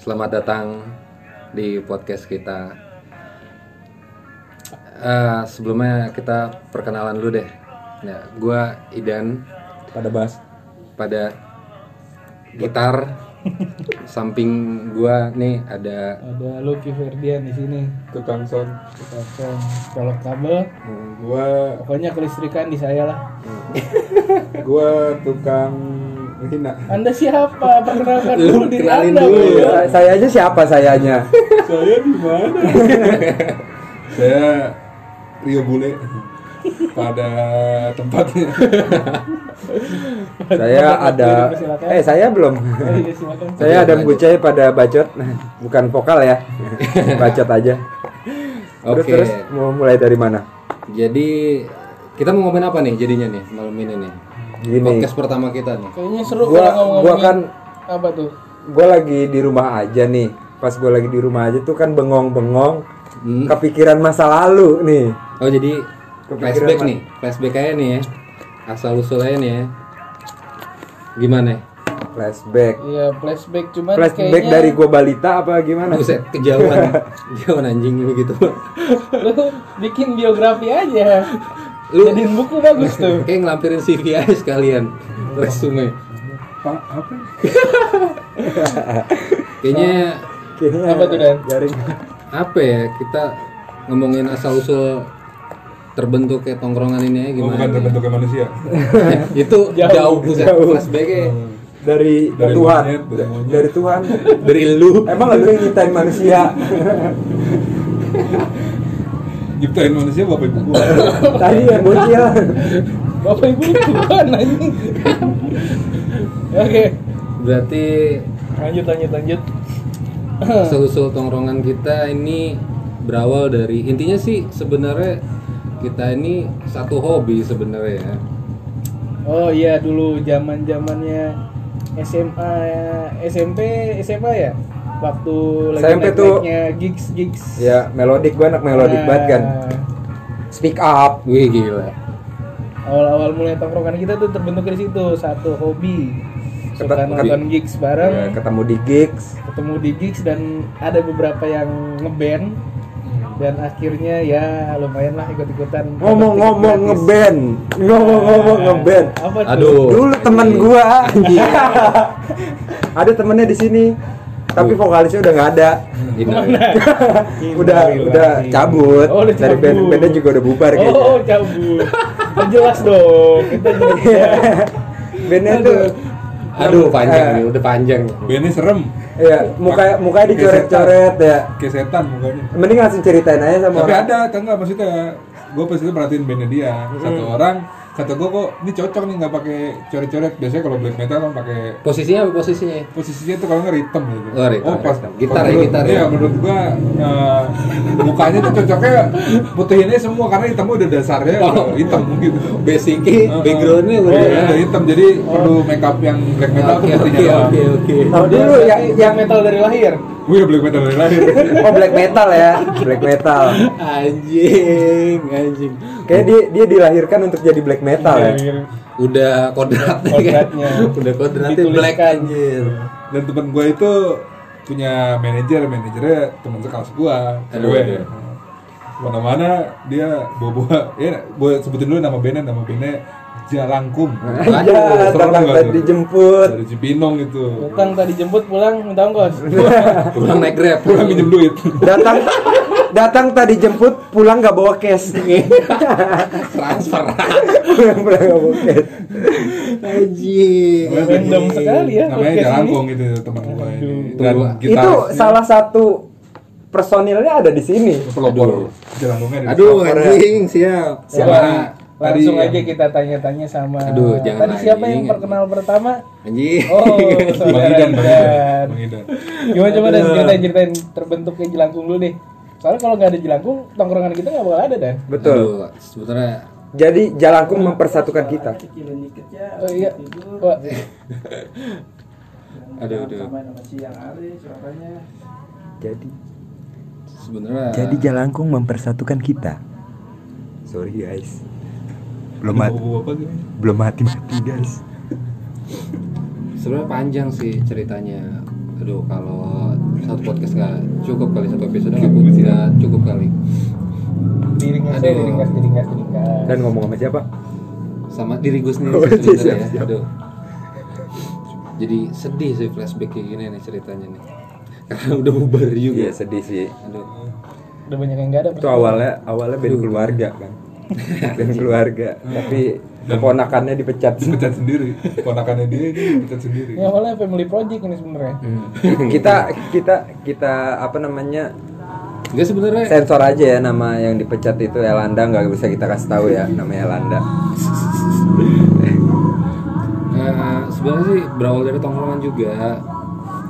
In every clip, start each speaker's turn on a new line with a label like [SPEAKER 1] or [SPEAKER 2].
[SPEAKER 1] Selamat datang di podcast kita. Eh, sebelumnya kita perkenalan dulu deh. Ya, gua Idan
[SPEAKER 2] pada bahas
[SPEAKER 1] pada gitar samping gua nih ada
[SPEAKER 3] Ada Lucky Ferdian di sini.
[SPEAKER 2] tukang sound
[SPEAKER 3] Potong colok kabel.
[SPEAKER 2] gua
[SPEAKER 3] Pokoknya kelistrikan di saya lah.
[SPEAKER 2] gua tukang hina
[SPEAKER 3] Anda siapa? Perkenalkan dulu diri
[SPEAKER 1] kenalin
[SPEAKER 3] Anda.
[SPEAKER 1] dulu
[SPEAKER 3] Bro.
[SPEAKER 1] ya.
[SPEAKER 4] saya aja siapa sayanya
[SPEAKER 2] saya di mana saya Rio Bule pada tempatnya
[SPEAKER 4] saya ada
[SPEAKER 3] Silakan.
[SPEAKER 4] eh saya belum
[SPEAKER 3] Oh, iya, silakan.
[SPEAKER 4] saya ada bucai pada bacot bukan vokal ya bacot aja
[SPEAKER 1] Oke.
[SPEAKER 4] terus terus mau mulai dari mana
[SPEAKER 1] Jadi kita mau ngomongin apa nih jadinya nih malam ini nih?
[SPEAKER 4] gini
[SPEAKER 1] Podcast pertama kita nih.
[SPEAKER 3] Kayaknya seru
[SPEAKER 4] gua
[SPEAKER 3] kalau ngomongin
[SPEAKER 4] gua kan
[SPEAKER 3] apa tuh?
[SPEAKER 4] gua lagi di rumah aja nih pas gua lagi di rumah aja tuh kan bengong-bengong
[SPEAKER 1] Hmm.
[SPEAKER 4] kepikiran masa lalu nih
[SPEAKER 1] Oh jadi
[SPEAKER 4] Kepikiran,
[SPEAKER 1] flashback
[SPEAKER 4] Mas.
[SPEAKER 1] nih, flashback aja nih ya. Asal usulnya nih ya. Gimana?
[SPEAKER 4] flashback
[SPEAKER 3] Iya, flashback cuman
[SPEAKER 4] flashback
[SPEAKER 3] kayaknya
[SPEAKER 4] dari gua balita apa gimana
[SPEAKER 1] Buset, kejauhan, kejauhan anjing lu gitu.
[SPEAKER 3] lu bikin biografi aja.
[SPEAKER 1] Lu-
[SPEAKER 3] Jadiin buku bagus tuh.
[SPEAKER 1] Kayak ngelampirin CV aja sekalian, resume.
[SPEAKER 2] pak apa
[SPEAKER 1] Kayaknya
[SPEAKER 4] Kayaknya
[SPEAKER 3] Apa tuh, Dan?
[SPEAKER 4] jaring
[SPEAKER 1] apa ya kita ngomongin asal usul terbentuk kayak tongkrongan ini ya
[SPEAKER 2] gua
[SPEAKER 1] gimana?
[SPEAKER 2] Oh, bukan terbentuknya manusia
[SPEAKER 1] Eh, Itu jauh,
[SPEAKER 3] Jauh.
[SPEAKER 1] buset,
[SPEAKER 4] Jauh.
[SPEAKER 1] flashbacknya
[SPEAKER 4] dari,
[SPEAKER 2] Dari
[SPEAKER 4] Tuhan
[SPEAKER 2] monyet, dari monyet.
[SPEAKER 4] dari Tuhan
[SPEAKER 1] dari lu.
[SPEAKER 4] emang lu yang nyiptain manusia
[SPEAKER 2] nyiptain manusia bapak ibu gua
[SPEAKER 4] tadi yang bocil
[SPEAKER 3] Bapak Ibu bukan anjing. Oke,
[SPEAKER 1] Berarti
[SPEAKER 3] lanjut lanjut lanjut.
[SPEAKER 1] Eh. asal-usul tongkrongan kita ini berawal dari intinya sih sebenarnya kita ini satu hobi sebenarnya ya.
[SPEAKER 3] Oh iya dulu zaman zamannya SMA SMP SMA ya waktu lagi
[SPEAKER 4] SMP tuh-
[SPEAKER 3] naik-naiknya gigs gigs
[SPEAKER 4] ya melodik banget melodik
[SPEAKER 3] Nah,
[SPEAKER 4] banget kan speak up
[SPEAKER 1] Wih gila.
[SPEAKER 3] awal-awal mulai tongkrongan kita tuh terbentuk dari situ satu hobi suka
[SPEAKER 4] Ketat-
[SPEAKER 3] nonton gigs
[SPEAKER 4] Ya,
[SPEAKER 3] bareng
[SPEAKER 4] ketemu di gigs
[SPEAKER 3] ketemu di gigs dan ada beberapa yang ngeband dan akhirnya ya lumayan lah ikut-ikutan
[SPEAKER 4] ngomong-ngomong
[SPEAKER 3] Gratis.
[SPEAKER 4] ngeband ngomong-ngomong
[SPEAKER 3] Nah,
[SPEAKER 4] ngeband
[SPEAKER 3] apa tuh?
[SPEAKER 1] Aduh.
[SPEAKER 4] dulu
[SPEAKER 1] ini.
[SPEAKER 4] temen gua anjing. Iya. ada temennya di sini tapi vokalisnya udah nggak ada
[SPEAKER 1] Gimana?
[SPEAKER 4] udah udah cabut
[SPEAKER 3] Oh, udah
[SPEAKER 4] dari
[SPEAKER 3] cabut.
[SPEAKER 4] band bandnya juga udah bubar kayaknya
[SPEAKER 3] Oh, cabut. Kan jelas dong. Kita jelas.
[SPEAKER 4] bandnya tuh
[SPEAKER 1] Aduh panjang
[SPEAKER 4] Eh,
[SPEAKER 1] nih, udah panjang.
[SPEAKER 2] bandnya serem
[SPEAKER 4] ya muka mukanya dicoret-coret ya
[SPEAKER 2] kayak setan mukanya
[SPEAKER 4] mending langsung ceritain aja sama
[SPEAKER 2] tapi
[SPEAKER 4] orang
[SPEAKER 2] ada atau enggak maksudnya gue pas itu perhatiin bandnya dia satu
[SPEAKER 1] Hmm.
[SPEAKER 2] orang kata gue kok ini cocok nih nggak pakai coret-coret biasanya kalau black metal kan pakai
[SPEAKER 1] Posisinya apa posisinya?
[SPEAKER 2] posisinya tuh kalau nggak rhythm gitu
[SPEAKER 1] Oh, rhythm,
[SPEAKER 2] pas
[SPEAKER 1] rhythm. Gitar ya,
[SPEAKER 2] menurut-
[SPEAKER 1] gitar ya.
[SPEAKER 2] iya menurut gua eh, mukanya tuh cocoknya putihinnya semua karena hitamnya udah dasarnya udah
[SPEAKER 1] Oh.
[SPEAKER 2] hitam gitu
[SPEAKER 1] Basicnya,
[SPEAKER 2] Heeh.
[SPEAKER 1] backgroundnya
[SPEAKER 2] Iya,
[SPEAKER 1] udah.
[SPEAKER 2] udah hitam jadi perlu make up yang black metal
[SPEAKER 1] Oke
[SPEAKER 2] tuh
[SPEAKER 1] oke
[SPEAKER 2] putihnya doang
[SPEAKER 1] oke oke.
[SPEAKER 4] tahu dulu
[SPEAKER 3] Berarti
[SPEAKER 4] yang yang
[SPEAKER 3] metal dari lahir.
[SPEAKER 2] gue black metal dari lahir
[SPEAKER 4] Oh black metal ya, black metal.
[SPEAKER 1] Anjing, anjing.
[SPEAKER 4] Kayak dia dia dilahirkan untuk jadi black metal ya.
[SPEAKER 1] Udah kodratnya kan.
[SPEAKER 3] Kodratnya.
[SPEAKER 1] Udah kodratnya
[SPEAKER 3] Dituliskan.
[SPEAKER 1] black anjir.
[SPEAKER 2] dan teman gue itu punya manajer manajernya teman sekelas gue
[SPEAKER 1] Aduh, aduh.
[SPEAKER 2] cewek mana-mana dia bawa-bawa ya buat sebutin dulu nama bandnya nama bandnya Jalangkum
[SPEAKER 4] Ada
[SPEAKER 2] serem
[SPEAKER 4] Ya, datang
[SPEAKER 2] nggak
[SPEAKER 4] tadi
[SPEAKER 2] tuh?
[SPEAKER 4] iya, dijemput.
[SPEAKER 2] dari Cipinong itu
[SPEAKER 3] Datang tadi jemput pulang minta ongkos.
[SPEAKER 1] Pulang naik grab.
[SPEAKER 2] pulang minjem duit
[SPEAKER 4] Datang datang tadi jemput pulang nggak bawa cash.
[SPEAKER 1] transfer.
[SPEAKER 4] pulang pulang nggak bawa cash.
[SPEAKER 1] Anjing.
[SPEAKER 3] Random sekali ya
[SPEAKER 2] namanya
[SPEAKER 3] podcast
[SPEAKER 2] Jalangkum itu teman gue ini dan
[SPEAKER 1] Itu
[SPEAKER 4] Itu
[SPEAKER 2] gitarisnya
[SPEAKER 4] salah satu personilnya ada di sini.
[SPEAKER 2] pelopor Jalangkungnya ada di
[SPEAKER 1] Aduh
[SPEAKER 2] pelopor.
[SPEAKER 1] anjing siap.
[SPEAKER 3] Coba
[SPEAKER 2] Sama
[SPEAKER 3] langsung
[SPEAKER 2] tadi-
[SPEAKER 3] aja kita tanya-tanya sama
[SPEAKER 1] Aduh, jangan
[SPEAKER 3] Tadi siapa
[SPEAKER 1] lagi,
[SPEAKER 3] yang
[SPEAKER 1] anjing.
[SPEAKER 3] perkenal pertama?
[SPEAKER 1] Anjing.
[SPEAKER 3] Oh,
[SPEAKER 2] Bang
[SPEAKER 3] saudara
[SPEAKER 2] Idan, Bang Idan,
[SPEAKER 3] Idan.
[SPEAKER 2] Bang Idan.
[SPEAKER 3] Gimana coba dan ceritain ceritain terbentuknya jelangkung dulu deh. Soalnya kalau nggak ada jelangkung, tongkrongan kita nggak bakal ada dan.
[SPEAKER 4] Betul.
[SPEAKER 1] Aduh, sebenarnya
[SPEAKER 4] Jadi Jalangkung mempersatukan kita.
[SPEAKER 3] Oh iya, Wah,
[SPEAKER 1] aduh aduh.
[SPEAKER 4] Jadi
[SPEAKER 1] Sebenarnya
[SPEAKER 4] Jalangkung mempersatukan kita. Sorry guys. Belum
[SPEAKER 2] Ada
[SPEAKER 4] mati,
[SPEAKER 2] bapak-bapak gitu.
[SPEAKER 4] belum mati mati guys.
[SPEAKER 1] sebenarnya panjang sih ceritanya aduh kalau satu podcast nggak cukup kali satu episode nggak
[SPEAKER 2] Cukup
[SPEAKER 1] bu-
[SPEAKER 2] sih.
[SPEAKER 1] nggak cukup kali
[SPEAKER 3] diringas
[SPEAKER 1] Aduh.
[SPEAKER 3] diringas diringas diringas
[SPEAKER 4] Dan ngomong sama siapa?
[SPEAKER 1] sama diri gue sendiri
[SPEAKER 4] Oh,
[SPEAKER 1] sih sebenarnya
[SPEAKER 4] siap,
[SPEAKER 1] ya.
[SPEAKER 4] siap.
[SPEAKER 1] Aduh. Jadi sedih sih flashback kayak gini nih ceritanya nih. Karena udah bubar juga.
[SPEAKER 4] Iya sedih sih.
[SPEAKER 1] Aduh.
[SPEAKER 3] udah banyak yang nggak ada
[SPEAKER 4] Itu awalnya awalnya band keluarga kan. band keluarga,
[SPEAKER 1] Hmm.
[SPEAKER 4] tapi keponakannya dipecat.
[SPEAKER 2] dipecat sendiri ponakannya dia ini dipecat sendiri
[SPEAKER 3] ini awalnya family project ini sebenarnya
[SPEAKER 4] Hmm. kita kita kita apa namanya?
[SPEAKER 1] Enggak sebenarnya
[SPEAKER 4] Sensor aja ya nama yang dipecat itu Elanda nggak bisa kita kasih tahu ya namanya Elanda.
[SPEAKER 1] eh, sebenarnya sih berawal dari tongkrongan juga.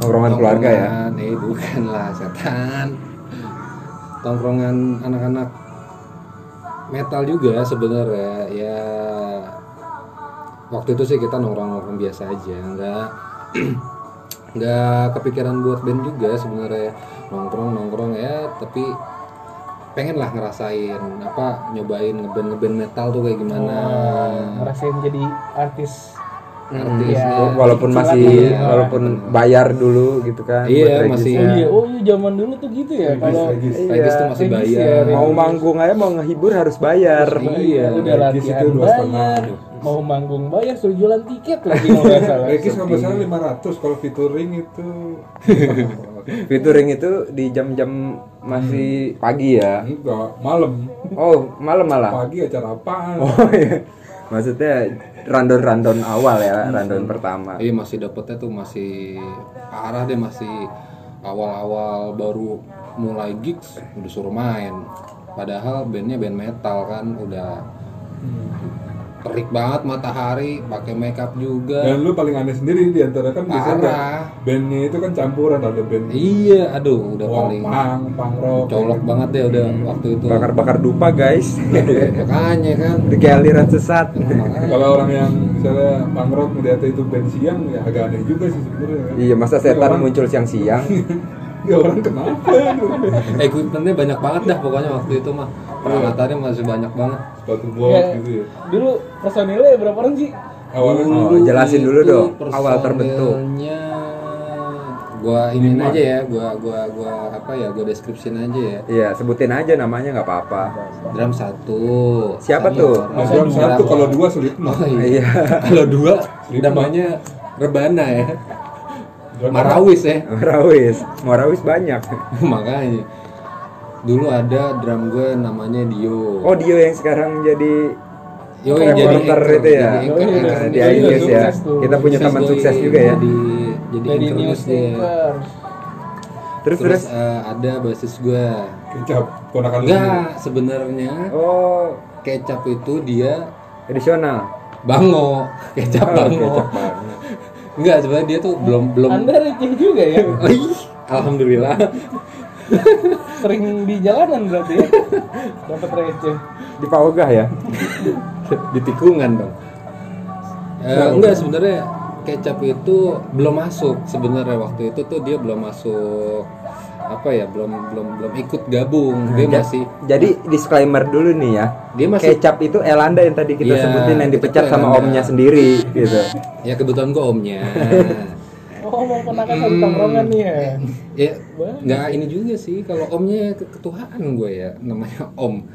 [SPEAKER 4] Nongkrongan keluarga ya.
[SPEAKER 1] Tongkrongan, Eh bukan lah setan. Tongkrongan anak-anak metal juga sebenarnya ya waktu itu sih kita nongkrong-nongkrong biasa aja nggak nggak kepikiran buat band juga sebenarnya nongkrong nongkrong ya tapi pengen lah ngerasain apa nyobain ngeband ngeband metal tuh kayak gimana
[SPEAKER 3] ngerasain jadi artis
[SPEAKER 1] artis
[SPEAKER 3] Iya.
[SPEAKER 1] ya.
[SPEAKER 4] Walaupun
[SPEAKER 1] Iya.
[SPEAKER 4] masih walaupun bayar dulu gitu kan.
[SPEAKER 1] Iya,
[SPEAKER 4] buat
[SPEAKER 1] masih.
[SPEAKER 4] register.
[SPEAKER 3] oh
[SPEAKER 1] Iya.
[SPEAKER 3] iya oh iya zaman dulu tuh gitu ya kalau
[SPEAKER 2] Regis.
[SPEAKER 1] Regis tuh masih
[SPEAKER 3] Regis
[SPEAKER 1] bayar.
[SPEAKER 3] Regis.
[SPEAKER 4] Mau manggung aja mau ngehibur harus bayar.
[SPEAKER 1] iya
[SPEAKER 3] udah
[SPEAKER 2] Regis
[SPEAKER 3] latihan
[SPEAKER 2] itu dua
[SPEAKER 3] bayar
[SPEAKER 2] setengah.
[SPEAKER 1] gitu.
[SPEAKER 3] mau manggung bayar suruh jualan tiket lagi kalau nggak salah
[SPEAKER 2] Regis kalau nggak salah 500 kalau featuring itu
[SPEAKER 4] Featuring itu di jam-jam masih pagi ya.
[SPEAKER 2] enggak malam
[SPEAKER 4] Oh, malam malah.
[SPEAKER 2] pagi acara apaan
[SPEAKER 4] Oh iya. Maksudnya random-random awal
[SPEAKER 1] Hmm.
[SPEAKER 4] ya, random pertama.
[SPEAKER 1] Iya masih dapetnya tuh masih parah deh masih awal-awal baru mulai gigs udah suruh main. Padahal bandnya band metal kan udah
[SPEAKER 2] Hmm.
[SPEAKER 1] terik banget matahari, pakai makeup juga.
[SPEAKER 2] dan lu paling aneh sendiri di antara kan biasanya
[SPEAKER 1] Parah.
[SPEAKER 2] kan bandnya itu kan campuran ada band
[SPEAKER 1] Iya, aduh udah
[SPEAKER 2] rock,
[SPEAKER 1] paling
[SPEAKER 2] punk, punk rock
[SPEAKER 1] colok banget deh udah waktu itu.
[SPEAKER 4] Bakar-bakar dupa, guys.
[SPEAKER 1] Aduh, makanya kan.
[SPEAKER 4] Di kayak aliran sesat.
[SPEAKER 1] Makanya.
[SPEAKER 2] kalau orang yang misalnya punk rock melihatnya itu band siang ya agak aneh juga sih sebenarnya kan.
[SPEAKER 4] Iya, masa
[SPEAKER 2] Ini orang-
[SPEAKER 4] setan muncul siang-siang?
[SPEAKER 2] ya orang kenapa
[SPEAKER 1] Equipmentnya banyak banget dah pokoknya waktu itu mah peralatannya masih banyak banget.
[SPEAKER 2] sepatu
[SPEAKER 3] Ya,
[SPEAKER 1] Iya.
[SPEAKER 2] bot gitu ya
[SPEAKER 3] dulu personilnya ya berapa orang sih
[SPEAKER 2] awalnya
[SPEAKER 4] Oh,
[SPEAKER 1] Dulu
[SPEAKER 4] jelasin dulu
[SPEAKER 1] itu
[SPEAKER 4] dong, awal terbentuk.
[SPEAKER 1] personelnya gua ini aja ya, gua gua gua apa ya, gua deskripsiin aja ya.
[SPEAKER 4] Iya, sebutin aja namanya nggak apa-apa.
[SPEAKER 1] Drum satu.
[SPEAKER 4] Siapa
[SPEAKER 1] sama
[SPEAKER 4] tuh?
[SPEAKER 1] orang.
[SPEAKER 2] Mas Bram Nah, satu kalau dua sulit
[SPEAKER 1] Oh, iya.
[SPEAKER 4] Iya.
[SPEAKER 1] Kalau dua
[SPEAKER 2] Lima.
[SPEAKER 1] namanya Rebana ya. Marawis ya.
[SPEAKER 4] Morawis. Morawis banyak.
[SPEAKER 1] Makanya. Dulu ada drum gue namanya Dio.
[SPEAKER 4] Oh, Dio yang sekarang jadi
[SPEAKER 1] Yo Oh, yang jadi
[SPEAKER 4] reporter
[SPEAKER 1] anchor,
[SPEAKER 4] itu ya.
[SPEAKER 1] jadi anchor,
[SPEAKER 3] Yo,
[SPEAKER 1] anchor
[SPEAKER 3] iya,
[SPEAKER 4] Di
[SPEAKER 1] sendiri.
[SPEAKER 3] Iya,
[SPEAKER 4] INGS ya.
[SPEAKER 3] sukses tuh.
[SPEAKER 4] Kita punya
[SPEAKER 1] Sukses
[SPEAKER 4] teman
[SPEAKER 1] boy,
[SPEAKER 4] sukses juga ya.
[SPEAKER 1] Jadi jadi
[SPEAKER 3] jadi
[SPEAKER 1] anchor news dia.
[SPEAKER 3] newspaper
[SPEAKER 1] Terus
[SPEAKER 4] Terus terus.
[SPEAKER 1] eh, ada basis gue.
[SPEAKER 2] kecap ponakan lu sendiri
[SPEAKER 1] Enggak, sebenarnya
[SPEAKER 4] Oh,
[SPEAKER 1] kecap itu dia
[SPEAKER 4] edisional.
[SPEAKER 1] bango, kecap bango.
[SPEAKER 4] Oh, kecap banget.
[SPEAKER 1] Enggak, sebenarnya dia tuh belum belum
[SPEAKER 3] anda receh juga ya
[SPEAKER 1] Ih, alhamdulillah.
[SPEAKER 3] sering di jalanan berarti ya dapat receh
[SPEAKER 4] Di Pawagah ya.
[SPEAKER 1] Di tikungan dong. Eh, enggak, sebenarnya kecap itu belum masuk sebenarnya waktu itu tuh dia belum masuk apa ya belum belum belum ikut gabung dia
[SPEAKER 4] Ja-
[SPEAKER 1] masih
[SPEAKER 4] Jadi disclaimer dulu nih ya.
[SPEAKER 1] Iya Dia masih-
[SPEAKER 4] kecap itu Elanda yang tadi kita
[SPEAKER 1] Iya,
[SPEAKER 4] sebutin yang
[SPEAKER 1] kecap
[SPEAKER 4] dipecat
[SPEAKER 1] itu
[SPEAKER 4] sama
[SPEAKER 1] Elanda.
[SPEAKER 4] omnya sendiri gitu.
[SPEAKER 1] ya kebetulan gue omnya
[SPEAKER 3] oh mau ponakan
[SPEAKER 1] Hmm.
[SPEAKER 3] satu tongkrongan nih ya
[SPEAKER 1] ya
[SPEAKER 3] Wah.
[SPEAKER 1] nggak ini juga sih kalau omnya ke- ketuaan gue ya namanya om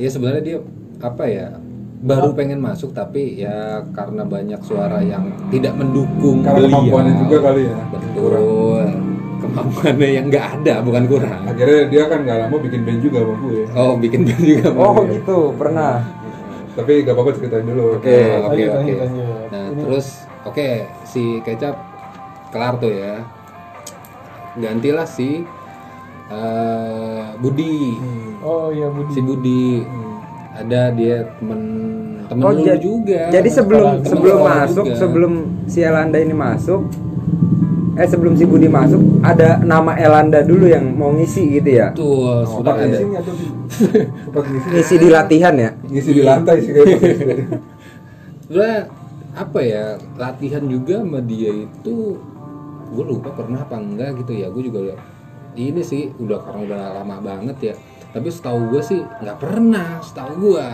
[SPEAKER 1] ya sebenarnya dia apa ya baru pengen masuk tapi ya karena banyak suara yang tidak mendukung
[SPEAKER 2] Karena
[SPEAKER 1] beliau.
[SPEAKER 2] kemampuannya juga kali ya.
[SPEAKER 1] betul kemampuannya yang nggak ada bukan kurang
[SPEAKER 2] akhirnya dia kan nggak lama bikin band juga sama gue
[SPEAKER 1] oh bikin band juga sama
[SPEAKER 4] Oh
[SPEAKER 1] dia.
[SPEAKER 4] gitu, pernah.
[SPEAKER 2] tapi gak apa-apa ceritain dulu
[SPEAKER 4] Oke.
[SPEAKER 1] Nah, oke
[SPEAKER 3] Lanjut,
[SPEAKER 1] oke
[SPEAKER 3] lanjut, lanjut.
[SPEAKER 1] nah terus oke si kecap kelar tuh ya gantilah si eh, Budi
[SPEAKER 2] Hmm.
[SPEAKER 3] oh iya
[SPEAKER 1] si
[SPEAKER 3] Budi
[SPEAKER 1] Budi ada dia temen temen
[SPEAKER 4] Oh,
[SPEAKER 1] lu
[SPEAKER 4] ja-
[SPEAKER 1] juga
[SPEAKER 4] Jadi sebelum
[SPEAKER 1] Temen
[SPEAKER 4] sebelum
[SPEAKER 1] sekolah
[SPEAKER 4] masuk,
[SPEAKER 1] juga.
[SPEAKER 4] sebelum si Elanda ini masuk eh sebelum si Budi masuk ada nama Elanda dulu yang mau ngisi gitu ya.
[SPEAKER 1] betul kan?
[SPEAKER 2] sempat
[SPEAKER 1] sebenarnya
[SPEAKER 2] ngisi nggak tuh sempat ngisi
[SPEAKER 4] Ngisi di latihan ya.
[SPEAKER 2] ngisi di lantai sih kayaknya
[SPEAKER 1] sebenarnya apa ya latihan juga sama dia itu gue lupa pernah apa enggak gitu ya gue juga udah, ini sih udah karena udah lama banget ya tapi setahu gue sih nggak pernah
[SPEAKER 2] Hmm.
[SPEAKER 1] setahu gue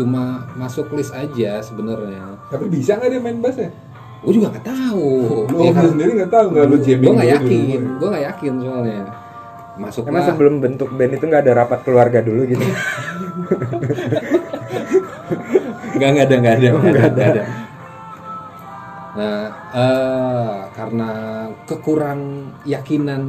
[SPEAKER 1] cuma masuk list aja sebenarnya
[SPEAKER 2] tapi bisa nggak dia main bass ya
[SPEAKER 1] Gue juga nggak tahu.
[SPEAKER 2] Oh, Lu
[SPEAKER 1] Ya
[SPEAKER 2] om lu
[SPEAKER 1] kan?
[SPEAKER 2] sendiri nggak tahu nggak lu jamming
[SPEAKER 1] Gue nggak
[SPEAKER 2] dulu oh, iya. di
[SPEAKER 1] yakin,
[SPEAKER 2] rumah?
[SPEAKER 1] gue nggak yakin soalnya. Masuk
[SPEAKER 4] Emang sebelum bentuk band itu nggak ada rapat keluarga dulu gitu?
[SPEAKER 1] Enggak, enggak ada, enggak ada, enggak ada. Oh, nggak ada. Nah, eh, karena kekurang yakinan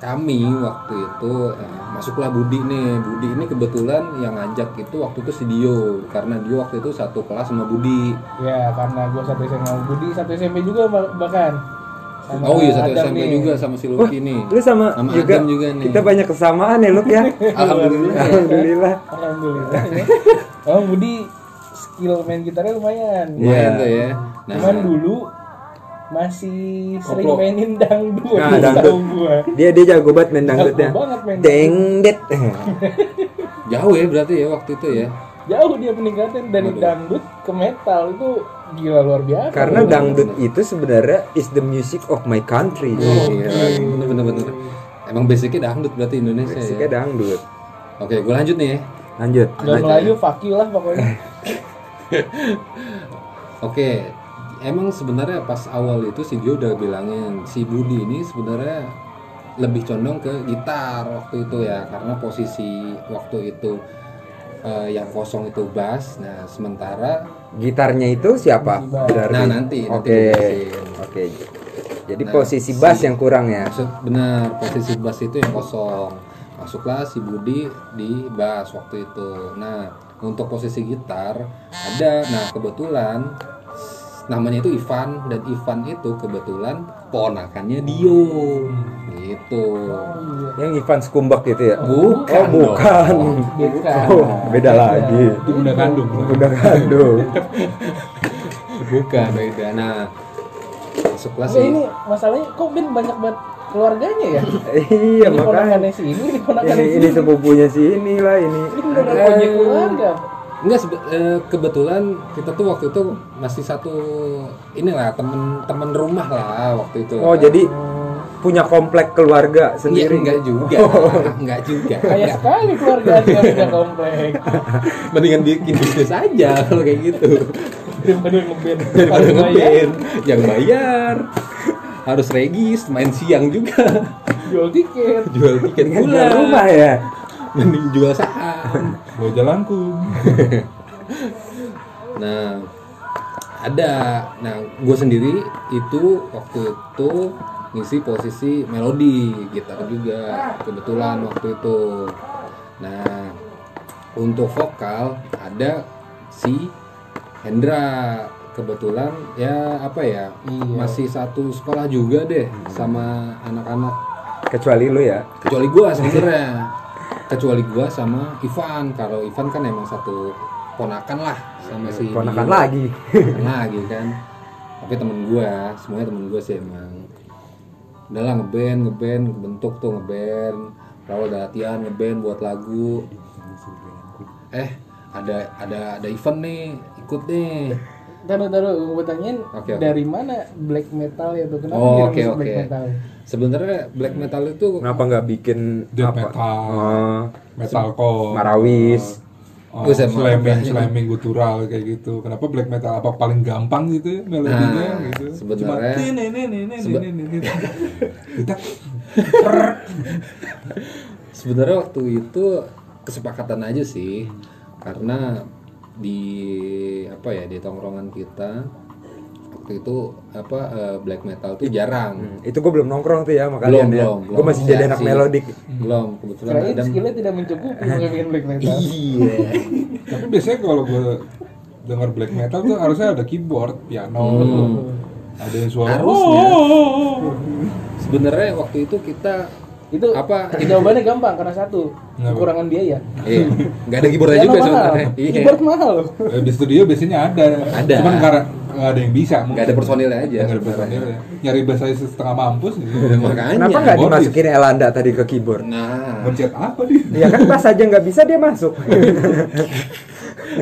[SPEAKER 1] kami waktu itu eh, masuklah Budi nih. Budi ini kebetulan yang ngajak itu waktu itu si Dio karena Dio waktu itu satu kelas sama Budi.
[SPEAKER 3] Ya karena gua satu SMA sama Budi, satu SMP juga bah- bahkan. Sama
[SPEAKER 1] oh iya satu
[SPEAKER 3] Adam
[SPEAKER 1] SMP
[SPEAKER 3] nih.
[SPEAKER 1] juga sama si Lucky nih.
[SPEAKER 4] Lu sama,
[SPEAKER 1] Sama
[SPEAKER 4] juga,
[SPEAKER 1] Adam juga nih.
[SPEAKER 4] kita banyak kesamaan ya Luk ya.
[SPEAKER 1] Alhamdulillah.
[SPEAKER 4] Alhamdulillah.
[SPEAKER 3] Alhamdulillah. ya. oh Budi skill main gitarnya lumayan.
[SPEAKER 4] Iya.
[SPEAKER 1] Lumayan tuh ya. Nah,
[SPEAKER 3] Cuman dulu masih sering
[SPEAKER 2] Koplo.
[SPEAKER 3] mainin dangdut, tahu
[SPEAKER 4] Nah, dangdut.
[SPEAKER 3] gua.
[SPEAKER 4] Dia dia jago banget main dangdutnya.
[SPEAKER 3] Jago banget main
[SPEAKER 4] Dengdet.
[SPEAKER 1] jauh ya berarti ya waktu itu ya.
[SPEAKER 3] Jauh dia peningkatan dari
[SPEAKER 1] Waduh.
[SPEAKER 3] dangdut ke metal itu gila luar biasa.
[SPEAKER 4] Karena dangdut itu sebenarnya is the music of my country.
[SPEAKER 3] Oh,
[SPEAKER 1] Iya, bener bener bener. Emang basicnya dangdut berarti Indonesia
[SPEAKER 4] Musiknya
[SPEAKER 1] ya.
[SPEAKER 4] dangdut.
[SPEAKER 1] Oke, gue lanjut nih ya.
[SPEAKER 4] Lanjut.
[SPEAKER 3] Gak Melayu, fuck you lah
[SPEAKER 4] Eh.
[SPEAKER 3] pokoknya.
[SPEAKER 1] Oke, emang sebenarnya pas awal itu si Dio udah bilangin si Budi ini sebenarnya lebih condong ke gitar waktu itu ya karena posisi waktu itu eh, yang kosong itu bass. Nah, sementara
[SPEAKER 4] Gitarnya itu siapa? Gitar-
[SPEAKER 1] nah nanti nanti
[SPEAKER 4] Oke.
[SPEAKER 1] gua jelasin.
[SPEAKER 4] Oke. Jadi
[SPEAKER 1] Nah,
[SPEAKER 4] posisi bass
[SPEAKER 1] si-
[SPEAKER 4] yang kurang ya.
[SPEAKER 1] Maksud benar posisi bass itu yang kosong. Masuklah si Budi di bass waktu itu. Nah, untuk posisi gitar ada nah kebetulan s- namanya itu Ivan dan Ivan itu kebetulan ponakannya Dio. Gitu.
[SPEAKER 3] Oh,
[SPEAKER 4] Yang Ivan Skumbak gitu ya.
[SPEAKER 1] Bukan.
[SPEAKER 4] Oh, bukan.
[SPEAKER 1] dong.
[SPEAKER 3] iya. Bukan. Iya.
[SPEAKER 4] Oh, beda lagi.
[SPEAKER 2] Itu bunda kandung.
[SPEAKER 4] Udah kado.
[SPEAKER 1] Bukan beda. Nah, masuklah
[SPEAKER 3] Nah,
[SPEAKER 1] si
[SPEAKER 3] ini masalahnya kok Ben banyak banget keluarganya ya?
[SPEAKER 4] iya,
[SPEAKER 3] ini
[SPEAKER 4] makanya.
[SPEAKER 3] ponakannya si ini, ini ponakannya
[SPEAKER 4] Ini,
[SPEAKER 3] si
[SPEAKER 4] ini
[SPEAKER 3] ini.
[SPEAKER 4] sepupunya si inilah ini.
[SPEAKER 3] Ini beneran proyek keluarga.
[SPEAKER 4] Iya.
[SPEAKER 1] Enggak sebe- eh, kebetulan kita tuh waktu itu masih satu inilah temen-temen rumah lah waktu itu.
[SPEAKER 4] Oh, jadi punya komplek keluarga
[SPEAKER 1] Iya,
[SPEAKER 4] sendiri. Oh.
[SPEAKER 1] enggak juga. enggak juga.
[SPEAKER 3] Kayak
[SPEAKER 1] Enggak.
[SPEAKER 3] sekali keluarga dia punya komplek.
[SPEAKER 1] Mendingan bikin bisnis aja kalau kayak gitu.
[SPEAKER 3] Daripada ngeband.
[SPEAKER 1] Daripada ngeband, yang bayar. Harus regis, main siang juga.
[SPEAKER 3] Jual tiket.
[SPEAKER 1] Jual tiket
[SPEAKER 4] Kan jual
[SPEAKER 1] bulan.
[SPEAKER 4] rumah ya.
[SPEAKER 1] Mending jual saham.
[SPEAKER 2] Gua jalangkung.
[SPEAKER 1] Nah, ada. Nah, gue sendiri itu waktu itu ngisi posisi melodi gitar juga kebetulan waktu itu. Nah, untuk vokal ada si Hendra kebetulan ya apa ya
[SPEAKER 3] Iya.
[SPEAKER 1] masih satu sekolah juga deh
[SPEAKER 4] Hmm.
[SPEAKER 1] sama anak-anak
[SPEAKER 4] Kecuali lu ya.
[SPEAKER 1] kecuali gua sebenarnya kecuali gua sama Ivan kalau Ivan kan emang satu ponakan lah sama si
[SPEAKER 4] Iya, Ponakan
[SPEAKER 1] Dio.
[SPEAKER 4] lagi.
[SPEAKER 1] Ponakan lagi kan tapi temen gua semuanya temen gua sih emang udah lah ngeband ngeband bentuk tuh ngeband lalu ada latihan ngeband buat lagu eh ada ada ada event nih ikut nih
[SPEAKER 3] Taruh taruh gue tanyain
[SPEAKER 1] Oke, oke.
[SPEAKER 3] dari mana black metal ya tuh kenapa
[SPEAKER 1] Oh,
[SPEAKER 3] dia
[SPEAKER 1] oke,
[SPEAKER 3] masuk
[SPEAKER 1] oke.
[SPEAKER 3] black metal?
[SPEAKER 1] sebenarnya black metal itu
[SPEAKER 4] Kenapa nggak bikin
[SPEAKER 2] Death
[SPEAKER 4] apa?
[SPEAKER 2] metal.
[SPEAKER 4] Oh,
[SPEAKER 2] metalcore
[SPEAKER 4] Marawis.
[SPEAKER 2] oh,
[SPEAKER 1] Buset,
[SPEAKER 2] slamming
[SPEAKER 1] makanya.
[SPEAKER 2] slamming gutural kayak gitu kenapa black metal apa paling gampang gitu ya melodinya
[SPEAKER 1] Nah,
[SPEAKER 2] gitu
[SPEAKER 1] sebenarnya-
[SPEAKER 2] cuma ini ini ini ini
[SPEAKER 1] Sebe-
[SPEAKER 2] ini ini Kita-
[SPEAKER 1] sebenarnya waktu itu kesepakatan aja sih karena di apa ya di tongkrongan kita waktu itu apa eh, black metal tuh jarang
[SPEAKER 4] Hmm, Itu gue belum nongkrong tuh ya makanya.
[SPEAKER 1] belum belum Iya
[SPEAKER 4] Gue masih jadi anak melodik.
[SPEAKER 1] belum kebetulan
[SPEAKER 3] Kirain
[SPEAKER 1] ada
[SPEAKER 3] skillnya tidak mencukupi untuk bikin black metal.
[SPEAKER 1] iya
[SPEAKER 2] tapi biasanya kalau gue denger black metal tuh harusnya ada keyboard piano
[SPEAKER 1] Hmm.
[SPEAKER 2] ada yang suara
[SPEAKER 1] Harusnya.
[SPEAKER 2] "Oh, oh, oh, oh."
[SPEAKER 1] sebenarnya waktu itu kita
[SPEAKER 3] Itu
[SPEAKER 1] Apa?
[SPEAKER 3] Jawabannya gampang karena satu
[SPEAKER 2] Kenapa?
[SPEAKER 3] kekurangan biaya.
[SPEAKER 1] iya nggak ada keyboardnya
[SPEAKER 3] Piano
[SPEAKER 1] juga
[SPEAKER 3] mahal,
[SPEAKER 1] sebenarnya iya
[SPEAKER 3] Ya, keyboard mahal.
[SPEAKER 2] Eh, di studio biasanya ada,
[SPEAKER 1] Ada.
[SPEAKER 2] cuman karena nggak ada yang bisa mungkin.
[SPEAKER 1] Nggak ada personilnya aja
[SPEAKER 2] Nggak ada
[SPEAKER 1] sebenarnya.
[SPEAKER 2] personilnya. nyari bass aja setengah mampus gitu.
[SPEAKER 1] makanya
[SPEAKER 4] Kenapa nggak
[SPEAKER 2] keyboardis.
[SPEAKER 4] dimasukin Elanda tadi ke keyboard?
[SPEAKER 1] nah
[SPEAKER 2] Mencet apa dia
[SPEAKER 4] Ya kan pas aja nggak bisa dia masuk.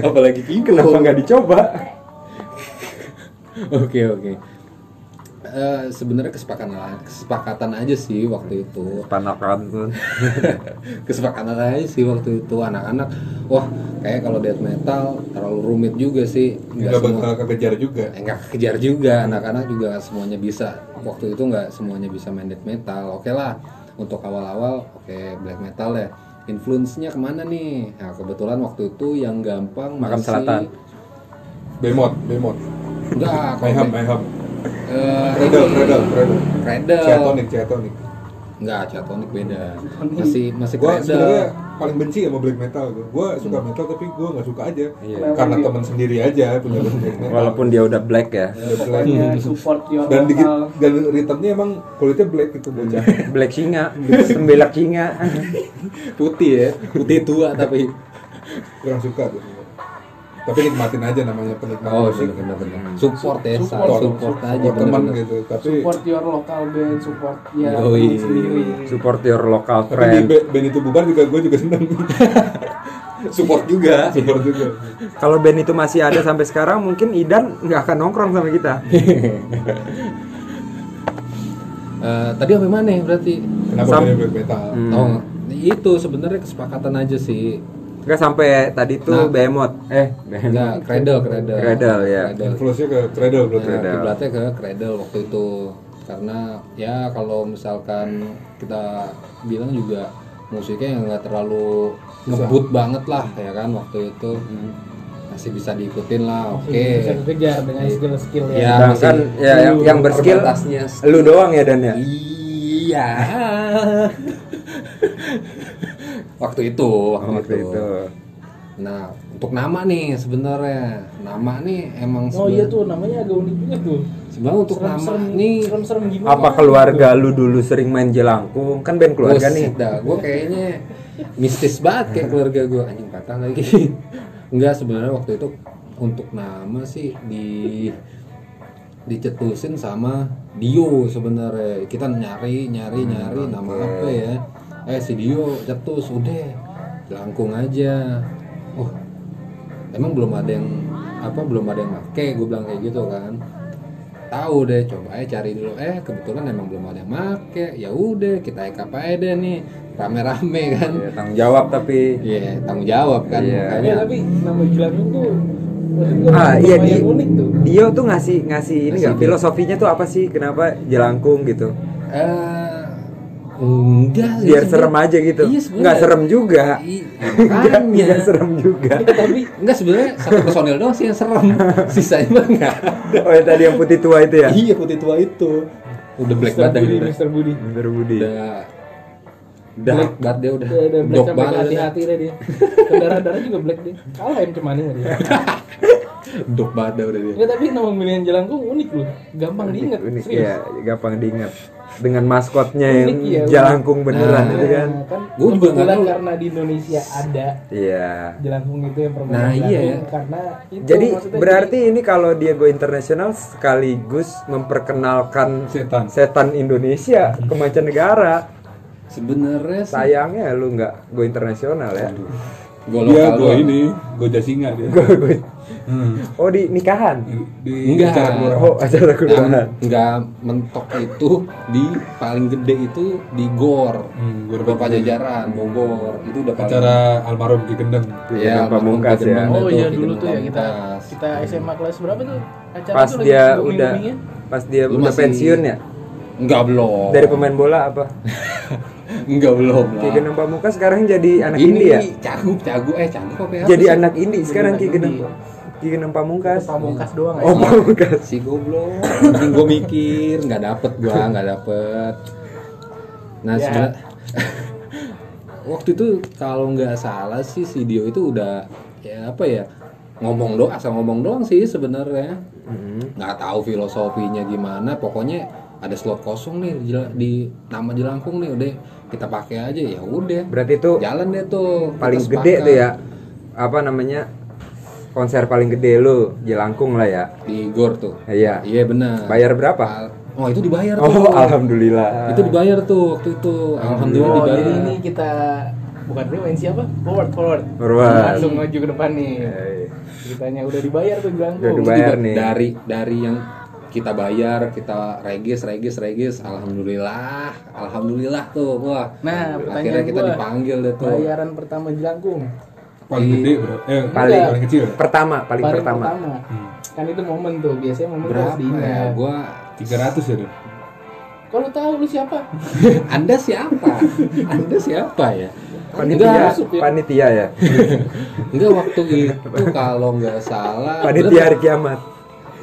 [SPEAKER 1] apalagi keyboard
[SPEAKER 4] Kenapa nggak dicoba?
[SPEAKER 1] Oke oke. Eh eh, sebenarnya kesepakatan kesepakatan aja sih waktu itu
[SPEAKER 4] panakan tuh
[SPEAKER 1] kesepakatan aja sih waktu itu anak-anak wah kayak kalau death metal terlalu rumit juga sih
[SPEAKER 2] nggak
[SPEAKER 1] nggak semua
[SPEAKER 2] bakal kekejar juga
[SPEAKER 1] eh, nggak kejar juga anak-anak juga nggak semuanya bisa waktu itu nggak semuanya bisa main death metal oke lah untuk awal-awal oke black metal ya influence-nya kemana nih nah, kebetulan waktu itu yang gampang
[SPEAKER 4] Makam
[SPEAKER 1] masih-
[SPEAKER 4] Selatan.
[SPEAKER 2] bemot bemot
[SPEAKER 1] nggak
[SPEAKER 2] mayhem
[SPEAKER 1] kalau
[SPEAKER 2] mayhem
[SPEAKER 1] eh,
[SPEAKER 2] Credel,
[SPEAKER 1] ini-
[SPEAKER 2] credel, credel.
[SPEAKER 1] Cradle.
[SPEAKER 2] Ciatonic, Ciatonic.
[SPEAKER 1] nggak ciatonic beda masih masih
[SPEAKER 2] Gue
[SPEAKER 1] Cradle.
[SPEAKER 2] sebenarnya paling benci sama black metal gue. Gue suka
[SPEAKER 1] Hmm.
[SPEAKER 2] metal tapi gue nggak suka aja.
[SPEAKER 4] Iya.
[SPEAKER 2] Karena teman sendiri aja punya gua black metal.
[SPEAKER 4] walaupun dia udah black ya
[SPEAKER 3] Iya,
[SPEAKER 2] Udah black.
[SPEAKER 3] pokoknya support your
[SPEAKER 2] iya, Hmm. Dan dikit
[SPEAKER 3] local
[SPEAKER 2] dan returnnya emang kulitnya black gitu bocah.
[SPEAKER 4] black singa sembelak singa
[SPEAKER 1] putih ya putih tua tapi
[SPEAKER 2] Kurang suka tuh. Tapi nikmatin aja namanya penikmat
[SPEAKER 1] Oh
[SPEAKER 2] musik.
[SPEAKER 1] benar-benar support ya, support,
[SPEAKER 2] Support,
[SPEAKER 1] support, aja
[SPEAKER 2] Buat teman
[SPEAKER 1] bener-bener.
[SPEAKER 2] gitu. Tapi
[SPEAKER 3] support your local band support ya
[SPEAKER 1] Yoi.
[SPEAKER 3] band sendiri
[SPEAKER 4] support your local
[SPEAKER 2] tapi di
[SPEAKER 4] friend
[SPEAKER 2] band, band itu bubar juga gue juga seneng.
[SPEAKER 1] Support juga.
[SPEAKER 2] Support juga.
[SPEAKER 4] kalau band itu masih ada sampai sekarang mungkin Idan nggak akan nongkrong sama kita
[SPEAKER 1] Eh, tadi sampai mana ya berarti?
[SPEAKER 2] Kenapa
[SPEAKER 4] Sam-
[SPEAKER 2] namanya black metal?
[SPEAKER 4] Hmm.
[SPEAKER 1] Oh, itu sebenarnya kesepakatan aja sih.
[SPEAKER 4] nggak sampai tadi tuh
[SPEAKER 1] Nah.
[SPEAKER 4] behemoth eh behemoth
[SPEAKER 1] Enggak, cradle, cradle.
[SPEAKER 4] Cradle, ya.
[SPEAKER 1] Cradle.
[SPEAKER 2] Influence-nya ke cradle berarti.
[SPEAKER 1] Nah, kiblatnya ke cradle waktu itu karena ya kalau misalkan kita bilang juga musiknya yang nggak terlalu ngebut banget lah ya kan waktu itu
[SPEAKER 4] Hmm.
[SPEAKER 1] masih bisa diikutin lah oke
[SPEAKER 3] Iya, bisa dikejar dengan skill skill ya
[SPEAKER 1] Ya,
[SPEAKER 4] sedangkan
[SPEAKER 1] masih-
[SPEAKER 4] ya yang, yang berskill
[SPEAKER 1] Terbatasnya.
[SPEAKER 4] lu doang ya Dan ya
[SPEAKER 1] Iya. waktu itu, waktu,
[SPEAKER 4] Oh, waktu
[SPEAKER 1] itu.
[SPEAKER 4] itu
[SPEAKER 1] Nah, untuk nama nih sebenarnya. Nama nih emang
[SPEAKER 3] oh
[SPEAKER 1] seben-
[SPEAKER 3] iya tuh namanya agak unik juga tuh
[SPEAKER 1] Sebenarnya untuk nama
[SPEAKER 3] serem-serem
[SPEAKER 1] nih
[SPEAKER 3] serem-serem gimana
[SPEAKER 4] apa keluarga lu dulu sering main jelangkung kan band keluarga nih
[SPEAKER 1] gue kayaknya mistis banget kayak keluarga gue anjing patah lagi. Enggak sebenarnya waktu itu untuk nama sih di dicetusin sama Dio sebenarnya. Kita nyari nyari
[SPEAKER 4] Hmm,
[SPEAKER 1] nyari nama apa ya? Eh si Dio cetus udah langkung aja. Oh emang belum ada yang apa belum ada yang make gue bilang kayak gitu kan tahu deh coba aja cari dulu eh kebetulan emang belum ada yang make ya udah kita ekap aja deh nih rame-rame kan
[SPEAKER 4] Ya, tanggung jawab tapi
[SPEAKER 1] iya tanggung jawab kan
[SPEAKER 4] Iya.
[SPEAKER 1] makanya
[SPEAKER 3] ya tapi nama Gilangung tuh maksud gua
[SPEAKER 4] Ah, iya,
[SPEAKER 3] lumayan
[SPEAKER 4] di-
[SPEAKER 3] unik tuh
[SPEAKER 4] Dio tuh ngasih ngasih ini nggak
[SPEAKER 1] Ngasih
[SPEAKER 4] filosofinya tuh apa sih kenapa jelangkung gitu
[SPEAKER 1] eh enggak sih sebenarnya.
[SPEAKER 4] biar serem aja gitu
[SPEAKER 1] Iya, sebenarnya.
[SPEAKER 4] nggak serem juga
[SPEAKER 1] I-
[SPEAKER 4] nggak
[SPEAKER 1] makanya
[SPEAKER 4] nggak serem juga
[SPEAKER 3] tapi
[SPEAKER 1] enggak sebenarnya satu personil doang sih yang serem sisanya mah enggak
[SPEAKER 4] oh yang tadi yang putih tua itu ya
[SPEAKER 1] iya putih tua itu udah black
[SPEAKER 3] Mr.
[SPEAKER 1] banget
[SPEAKER 3] Budi
[SPEAKER 1] dah, udah
[SPEAKER 3] Mr. Budi
[SPEAKER 4] Mister Budi
[SPEAKER 1] udah dark banget dia udah
[SPEAKER 3] Dia ada black
[SPEAKER 1] dok
[SPEAKER 3] sampai
[SPEAKER 1] banget
[SPEAKER 3] ke
[SPEAKER 1] dah.
[SPEAKER 3] hati-hati deh dia Darah-darah juga black dia Kalah M cemani sama dia
[SPEAKER 1] dok banget dah udah dia
[SPEAKER 3] Ya tapi nama pemilihan jelangkung unik loh Gampang diingat
[SPEAKER 4] unik
[SPEAKER 3] serius.
[SPEAKER 4] ya gampang diingat dengan maskotnya
[SPEAKER 3] Unik,
[SPEAKER 4] yang
[SPEAKER 3] iya, unik.
[SPEAKER 4] jelangkung beneran
[SPEAKER 1] Nah.
[SPEAKER 4] itu kan
[SPEAKER 3] Nah, kan
[SPEAKER 1] Gua juga nggak
[SPEAKER 3] kebetulan
[SPEAKER 1] tahu.
[SPEAKER 3] karena di Indonesia ada
[SPEAKER 4] iya
[SPEAKER 3] jelangkung itu yang permainan
[SPEAKER 1] Nah, iya.
[SPEAKER 3] jelangkung karena itu
[SPEAKER 4] jadi
[SPEAKER 3] maksudnya
[SPEAKER 4] berarti ini kalau Diego Internasional sekaligus memperkenalkan
[SPEAKER 2] Setan.
[SPEAKER 4] setan Indonesia ke mancanegara
[SPEAKER 1] sebenarnya sih-
[SPEAKER 4] sayangnya lu nggak go internasional ya
[SPEAKER 1] Gua lokal
[SPEAKER 2] Dia gue
[SPEAKER 1] doang.
[SPEAKER 2] Iya, ini, gue jasinga dia. Hmm.
[SPEAKER 4] oh di nikahan
[SPEAKER 2] Di
[SPEAKER 1] Enggak.
[SPEAKER 2] acara kelurahan.
[SPEAKER 4] oh acara kelurahan
[SPEAKER 1] nggak mentok itu di paling gede itu di gor
[SPEAKER 2] Hmm, gor
[SPEAKER 1] gor pajajaran bogor itu udah paling
[SPEAKER 2] acara almarhum Ki Gendeng.
[SPEAKER 4] Iya, Pamungkas ya.
[SPEAKER 3] Oh iya dulu tuh ya kita kita SMA kelas berapa tuh acara
[SPEAKER 4] pas
[SPEAKER 3] tuh lagi ya?
[SPEAKER 4] dia
[SPEAKER 3] booming-
[SPEAKER 4] udah
[SPEAKER 3] boomingnya.
[SPEAKER 4] pas dia
[SPEAKER 1] Lu
[SPEAKER 4] udah
[SPEAKER 1] masih- Oh.
[SPEAKER 4] pensiun ya
[SPEAKER 1] enggak belum
[SPEAKER 4] dari pemain bola apa
[SPEAKER 1] enggak belum
[SPEAKER 4] Ki
[SPEAKER 1] lah
[SPEAKER 4] Geneng Pamuka sekarang jadi
[SPEAKER 1] Nah.
[SPEAKER 4] anak
[SPEAKER 1] ini
[SPEAKER 4] indie ya
[SPEAKER 1] cagup cagup eh cagup apa ya
[SPEAKER 4] jadi anak indie sekarang
[SPEAKER 3] anak
[SPEAKER 4] Ki Geneng
[SPEAKER 3] indie.
[SPEAKER 4] Ki Geneng Pamungkas
[SPEAKER 3] pamungkas
[SPEAKER 1] Iya.
[SPEAKER 3] doang
[SPEAKER 4] oh
[SPEAKER 3] aja.
[SPEAKER 4] Pamungkas
[SPEAKER 1] si goblok anjing gua mikir nggak dapet gua nggak dapet nah
[SPEAKER 3] Ya.
[SPEAKER 1] sebenarnya waktu itu kalau nggak salah sih si Dio itu udah ya apa ya ngomong doang asal ngomong doang sih sebenarnya
[SPEAKER 4] Mm-hmm.
[SPEAKER 1] nggak tahu filosofinya gimana pokoknya ada slot kosong nih di, di nama jelangkung nih udah kita pakai aja ya udah
[SPEAKER 4] berarti itu
[SPEAKER 1] jalan deh tuh kita
[SPEAKER 4] paling gede
[SPEAKER 1] sepakat.
[SPEAKER 4] tuh ya apa namanya konser paling gede lu Jelangkung lah ya
[SPEAKER 1] di gor tuh
[SPEAKER 4] iya
[SPEAKER 1] iya benar
[SPEAKER 4] bayar berapa
[SPEAKER 1] oh itu dibayar
[SPEAKER 4] oh
[SPEAKER 1] tuh Iya.
[SPEAKER 4] alhamdulillah
[SPEAKER 1] Ah. itu dibayar tuh waktu itu alhamdulillah
[SPEAKER 3] Oh,
[SPEAKER 1] dibayar
[SPEAKER 3] jadi ini kita bukan rewind siapa? Forward, forward.
[SPEAKER 4] Forward.
[SPEAKER 3] Langsung maju ke depan nih.
[SPEAKER 4] Eh,
[SPEAKER 3] Ceritanya udah dibayar tuh bilang
[SPEAKER 4] Udah
[SPEAKER 3] tuh.
[SPEAKER 4] dibayar.
[SPEAKER 1] Terus
[SPEAKER 4] nih.
[SPEAKER 1] dari dari yang kita bayar kita regis regis regis alhamdulillah alhamdulillah tuh wah
[SPEAKER 3] Nah,
[SPEAKER 1] akhirnya
[SPEAKER 3] pertanyaan
[SPEAKER 1] kita
[SPEAKER 3] gua,
[SPEAKER 1] dipanggil deh tuh
[SPEAKER 3] Bayaran pertama jelangkung.
[SPEAKER 2] paling gede bro eh
[SPEAKER 4] Paling.
[SPEAKER 2] paling kecil ya?
[SPEAKER 4] Pertama, paling, pertama.
[SPEAKER 3] Kan itu momen tuh, biasanya momen tuh harus
[SPEAKER 1] berapa ya
[SPEAKER 3] diingat.
[SPEAKER 1] gua
[SPEAKER 2] 300 ya deh
[SPEAKER 3] Kok lu tahu lu siapa?
[SPEAKER 1] anda siapa anda siapa ya
[SPEAKER 4] Panitia,
[SPEAKER 3] masuk ya.
[SPEAKER 4] panitia ya.
[SPEAKER 1] enggak waktu itu kalau nggak salah
[SPEAKER 4] Panitia hari kiamat.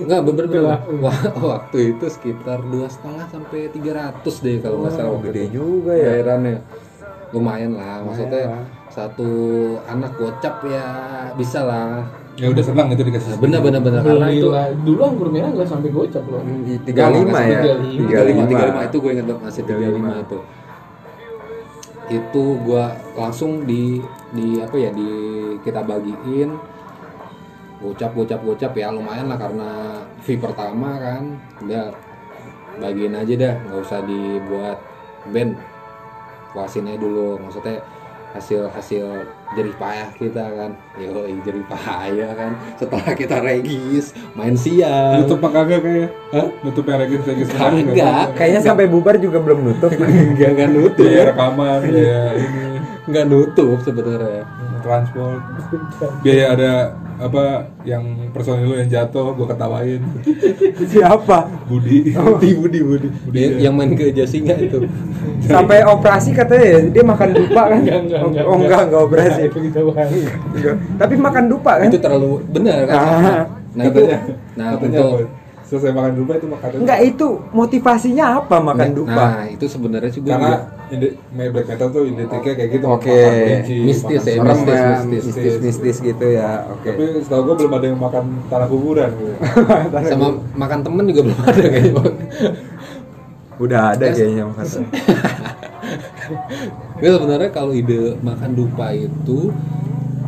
[SPEAKER 1] Enggak bener bener Wa- waktu itu sekitar dua setengah sampai 300 deh kalau nggak salah waktu
[SPEAKER 4] Gede
[SPEAKER 1] itu.
[SPEAKER 4] juga ya.
[SPEAKER 1] Bayarannya Iya. lumayan lah maksudnya satu anak gocap ya bisa lah
[SPEAKER 2] ya udah senang itu dikasih
[SPEAKER 1] bener bener bener karena itu
[SPEAKER 3] Gila, ah, dulu anggur merah nggak sampai gocap loh.
[SPEAKER 4] Tiga lima ya. Tiga
[SPEAKER 1] 35
[SPEAKER 4] lima.
[SPEAKER 1] 35 itu gue inget banget masih 35 itu itu gue langsung di di apa ya di kita bagiin gocap gocap gocap ya lumayan lah karena fee pertama kan udah bagiin aja dah nggak usah dibuat band puasinnya dulu maksudnya hasil hasil jerih payah kita kan yo jerih payah kan setelah kita regis main siang
[SPEAKER 2] nutup apa kagak kayak Hah? nutup yang regis regis kemarin nggak?
[SPEAKER 1] kagak
[SPEAKER 4] Kayaknya sampai bubar juga belum nutup.
[SPEAKER 1] nggak nggak nutup
[SPEAKER 2] ya rekaman ya ini
[SPEAKER 1] nggak nutup sebenarnya
[SPEAKER 2] transport biaya ada apa yang personil lu yang jatuh gua ketawain
[SPEAKER 4] Siapa?
[SPEAKER 2] Budi
[SPEAKER 4] Oh.
[SPEAKER 1] budi budi budi
[SPEAKER 2] Iya.
[SPEAKER 1] yang main ke Jasinga itu
[SPEAKER 4] Sampai operasi katanya ya, dia makan dupa kan?
[SPEAKER 3] Enggak, enggak, enggak,
[SPEAKER 4] oh enggak, enggak operasi.
[SPEAKER 3] Itu kejauhan.
[SPEAKER 4] Enggak. Tapi makan dupa kan?
[SPEAKER 1] itu terlalu benar kan
[SPEAKER 4] Ah.
[SPEAKER 1] nah itu
[SPEAKER 2] Katanya-
[SPEAKER 1] nah
[SPEAKER 2] katanya
[SPEAKER 1] untuk
[SPEAKER 2] apa? selesai makan dupa itu makan
[SPEAKER 4] Enggak itu motivasinya apa makan dupa?
[SPEAKER 1] nah itu sebenarnya juga
[SPEAKER 2] karena
[SPEAKER 1] Iya.
[SPEAKER 2] ide me- black metal tuh identiknya kayak gitu
[SPEAKER 4] Oke.
[SPEAKER 2] makan kelinci,
[SPEAKER 1] Mistis ya,
[SPEAKER 2] makan serem.
[SPEAKER 4] Orang
[SPEAKER 1] mistis,
[SPEAKER 4] ya,
[SPEAKER 1] mistis,
[SPEAKER 4] mistis-mistis gitu ya.
[SPEAKER 2] tapi
[SPEAKER 4] Oke.
[SPEAKER 2] setahu gua belum ada yang makan tanah kuburan gitu.
[SPEAKER 1] sama makan temen juga belum ada kayaknya
[SPEAKER 4] Udah ada kayaknya makan.
[SPEAKER 1] gue sebenarnya kalau ide makan dupa itu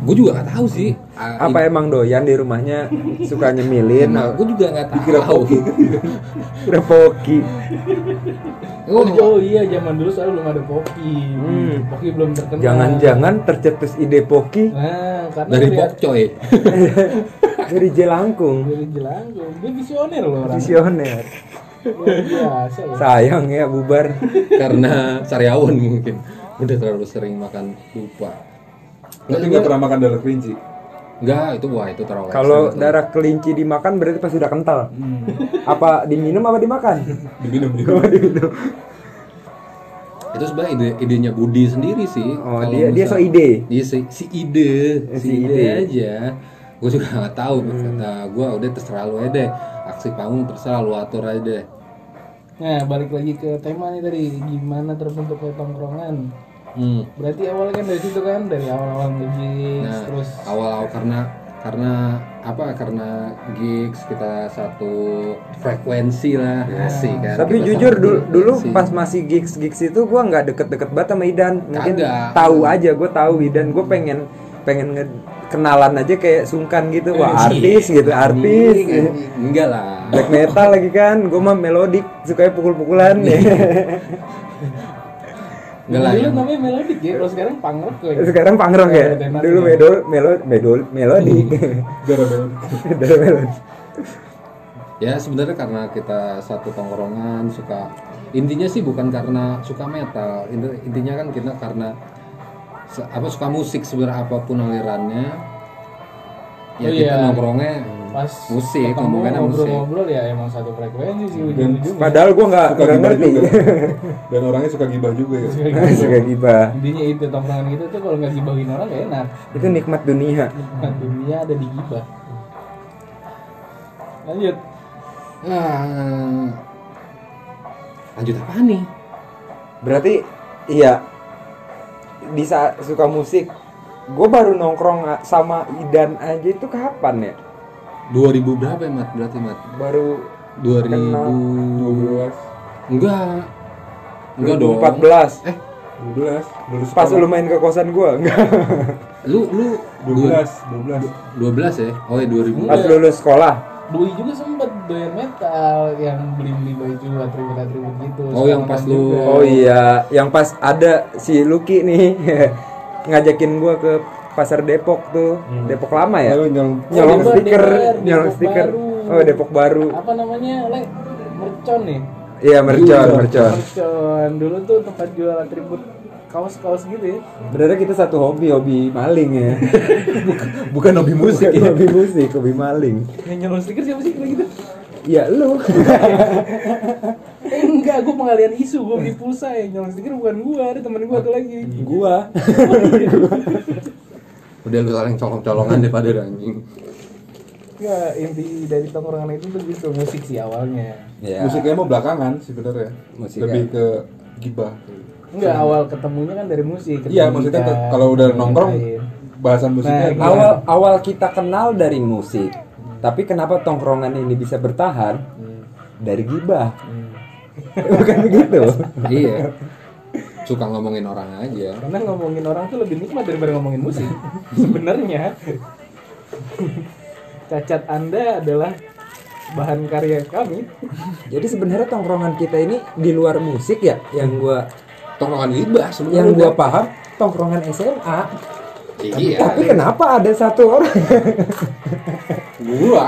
[SPEAKER 1] gue juga nggak tahu sih Ah,
[SPEAKER 4] Apa ya? emang doyan di rumahnya suka nyemilin?
[SPEAKER 1] Nah, gue juga nggak tahu.
[SPEAKER 4] Udah poki.
[SPEAKER 1] Gua-
[SPEAKER 3] Oh iya, zaman dulu soalnya belum ada kopi. Kopi belum terkenal.
[SPEAKER 4] Jangan-jangan tercetus ide poki
[SPEAKER 3] Nah, karena
[SPEAKER 1] dari
[SPEAKER 3] dia-
[SPEAKER 1] Bokcoy.
[SPEAKER 4] dari jelangkung.
[SPEAKER 3] dari jelangkung. Dia visioner loh orang.
[SPEAKER 4] Visioner.
[SPEAKER 3] Luar biasa loh.
[SPEAKER 4] Sayang ya bubar.
[SPEAKER 1] karena sariawan mungkin udah terlalu sering makan dupa.
[SPEAKER 2] tapi nggak pernah makan darah kelinci
[SPEAKER 1] Enggak, itu wah itu terlalu
[SPEAKER 4] Kalau
[SPEAKER 1] ekstrem,
[SPEAKER 4] darah kelinci dimakan berarti pas udah kental.
[SPEAKER 1] Hmm.
[SPEAKER 4] Apa diminum apa dimakan?
[SPEAKER 2] diminum di
[SPEAKER 4] Oh, diminum.
[SPEAKER 1] itu itu sebenarnya ide idenya Budi sendiri sih
[SPEAKER 4] Oh,
[SPEAKER 1] Kalau
[SPEAKER 4] dia dia
[SPEAKER 1] misal-
[SPEAKER 4] so ide.
[SPEAKER 1] dia si, si ide
[SPEAKER 4] Eh,
[SPEAKER 1] si,
[SPEAKER 4] si
[SPEAKER 1] ide.
[SPEAKER 4] ide. Hmm.
[SPEAKER 1] aja gue juga nggak tahu kata gue udah terserah lu aja deh aksi panggung terserah lu atur aja deh
[SPEAKER 3] Nah, balik lagi ke tema nih tadi, gimana terbentuknya tongkrongan?
[SPEAKER 1] hmm.
[SPEAKER 3] Berarti awalnya kan dari situ kan, dari awal-awal ngejis,
[SPEAKER 1] Nah,
[SPEAKER 3] terus
[SPEAKER 1] awal-awal karena karena apa karena gigs kita satu frekuensi lah asik kan
[SPEAKER 4] Ya. Tapi
[SPEAKER 1] Kita
[SPEAKER 4] jujur
[SPEAKER 1] satu
[SPEAKER 4] dulu, dulu
[SPEAKER 1] frekuensi.
[SPEAKER 4] pas masih gigs gigs itu gua nggak deket-deket banget sama Idan. Mungkin
[SPEAKER 1] Kagak.
[SPEAKER 4] tahu aja gue tahu Idan. Gue pengen pengen nge- kenalan aja kayak sungkan gitu.
[SPEAKER 2] Iya,
[SPEAKER 4] Wah artis gitu artis.
[SPEAKER 1] Anjing, anjing. Eh, enggak lah
[SPEAKER 4] Black metal lagi kan. Gue mah melodik sukanya pukul-pukulan.
[SPEAKER 2] Iya.
[SPEAKER 1] enggak lah
[SPEAKER 3] dulu
[SPEAKER 1] yang
[SPEAKER 3] namanya melodik ya, kalau sekarang pangrok kok ya.
[SPEAKER 4] Sekarang pangrok ya.
[SPEAKER 2] Iya,
[SPEAKER 3] Tenar,
[SPEAKER 4] Dulu
[SPEAKER 3] ya.
[SPEAKER 4] medol melo medol melodi.
[SPEAKER 2] darah melon
[SPEAKER 4] Medol melodi.
[SPEAKER 1] ya sebenarnya karena kita satu tongkrongan suka intinya sih bukan karena suka metal Inti- intinya kan kita karena se- apa suka musik sebenarnya apapun alirannya ya
[SPEAKER 3] Oh
[SPEAKER 1] kita
[SPEAKER 3] iya.
[SPEAKER 1] nongkrongnya
[SPEAKER 3] Pas
[SPEAKER 1] Musik,
[SPEAKER 3] ketemu,
[SPEAKER 1] ngomongannya musik.
[SPEAKER 3] ngobrol-ngobrol ya emang satu frekuensi sih ujung-ujungnya.
[SPEAKER 4] Padahal gue nggak
[SPEAKER 2] suka
[SPEAKER 4] nggak
[SPEAKER 2] gibah
[SPEAKER 4] ngerti.
[SPEAKER 2] juga dan orangnya suka gibah juga ya
[SPEAKER 4] Suka gibah.
[SPEAKER 3] Intinya itu tongkrongan gitu tuh kalau nggak gibahin orang gak enak.
[SPEAKER 4] Itu nikmat dunia.
[SPEAKER 3] Nah, dunia ada di gibah. Lanjut.
[SPEAKER 1] ah, lanjut apa nih
[SPEAKER 4] Berarti iya di saat suka musik, gue baru nongkrong a- sama Idan aja itu kapan ya?
[SPEAKER 1] 2000 berapa ya mat berarti mat
[SPEAKER 4] Baru
[SPEAKER 1] 2000
[SPEAKER 2] 12
[SPEAKER 1] enggak enggak dong
[SPEAKER 4] 2014.
[SPEAKER 1] eh
[SPEAKER 2] 12 lulus
[SPEAKER 4] Pas lu main ke kosan gue, enggak.
[SPEAKER 1] lu lu
[SPEAKER 2] 12 12
[SPEAKER 1] 12 ya oh ya 2000
[SPEAKER 4] Pas lulus sekolah.
[SPEAKER 3] Doi juga sempet doyan metal yang beli-beli baju atribut-atribut gitu.
[SPEAKER 1] Oh, yang pas lu-
[SPEAKER 3] Juga.
[SPEAKER 4] iya. Oh iya, yang pas ada si Lucky nih ngajakin gue ke pasar Depok tuh
[SPEAKER 1] Hmm.
[SPEAKER 4] Depok lama ya
[SPEAKER 2] Lalu nyolong
[SPEAKER 4] nyolong
[SPEAKER 3] Depok,
[SPEAKER 4] stiker
[SPEAKER 3] Depok,
[SPEAKER 4] nyolong
[SPEAKER 3] Depok
[SPEAKER 4] stiker
[SPEAKER 3] baru.
[SPEAKER 4] oh Depok baru
[SPEAKER 3] apa namanya le mercon nih
[SPEAKER 4] iya mercon mercon
[SPEAKER 3] mercon dulu tuh tempat jual atribut kaos kaos gitu ya
[SPEAKER 4] Sebenarnya kita satu hobi, hobi maling ya. bukan, bukan hobi musik, ya. hobi musik, hobi maling.
[SPEAKER 3] yang nyolong stiker siapa sih kayak gitu
[SPEAKER 4] Ya lu.
[SPEAKER 3] eh, enggak gue pengalian isu gue beli pulsa yang nyolong stiker bukan gue ada temen gue tuh lagi
[SPEAKER 4] gua.
[SPEAKER 1] udah lu saling colong-colongan daripada udah anjing
[SPEAKER 3] ya inti dari tongkrongan itu lebih ke musik sih awalnya
[SPEAKER 4] Ya.
[SPEAKER 2] musiknya mau belakangan sebenarnya
[SPEAKER 1] Musik
[SPEAKER 2] lebih ke gibah
[SPEAKER 3] enggak awal ketemunya kan dari musik
[SPEAKER 2] iya
[SPEAKER 3] ketemu
[SPEAKER 2] maksudnya
[SPEAKER 3] Dika,
[SPEAKER 2] ke- kalau udah
[SPEAKER 3] ketemu
[SPEAKER 2] nongkrong
[SPEAKER 3] yang lain.
[SPEAKER 2] bahasan musiknya
[SPEAKER 3] Nah,
[SPEAKER 2] awal
[SPEAKER 4] Awal awal kita kenal dari musik. Tapi kenapa tongkrongan ini bisa bertahan? Dari gibah. bukan begitu.
[SPEAKER 1] iya suka ngomongin orang aja
[SPEAKER 3] karena ngomongin orang tuh lebih nikmat daripada ngomongin musik sebenarnya cacat anda adalah bahan karya kami
[SPEAKER 4] Jadi sebenarnya tongkrongan kita ini di luar musik ya yang gua
[SPEAKER 1] tongkrongan gibah sebenarnya
[SPEAKER 4] yang
[SPEAKER 1] udah.
[SPEAKER 4] gua paham tongkrongan SMA.
[SPEAKER 1] iya
[SPEAKER 4] Tapi kenapa ada satu orang?
[SPEAKER 1] gua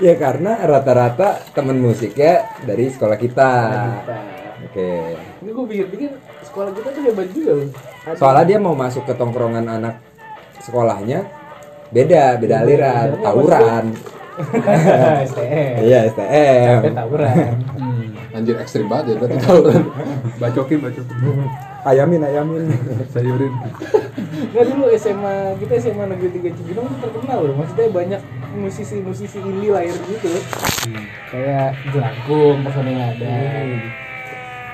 [SPEAKER 4] Ya karena rata-rata temen musiknya dari sekolah kita. Iya. Oke.
[SPEAKER 3] ini gue pikir-pikir sekolah kita tuh hebat juga loh Ada-
[SPEAKER 4] Soalnya dia mau masuk ke tongkrongan anak sekolahnya beda, beda aliran,
[SPEAKER 3] alirannya
[SPEAKER 4] tawuran.
[SPEAKER 3] STM
[SPEAKER 4] Iya, STM.
[SPEAKER 3] Eh, tawuran
[SPEAKER 1] anjir ekstrim banget ya berarti kalau
[SPEAKER 2] bacokin bacokin
[SPEAKER 4] Ayamin, ayamin.
[SPEAKER 2] sayurin
[SPEAKER 3] Nggak dulu SMA kita SMA negeri tiga Cibinong tuh terkenal loh maksudnya banyak musisi-musisi indie lahir gitu kayak Jelangkung personilnya ada Hmm.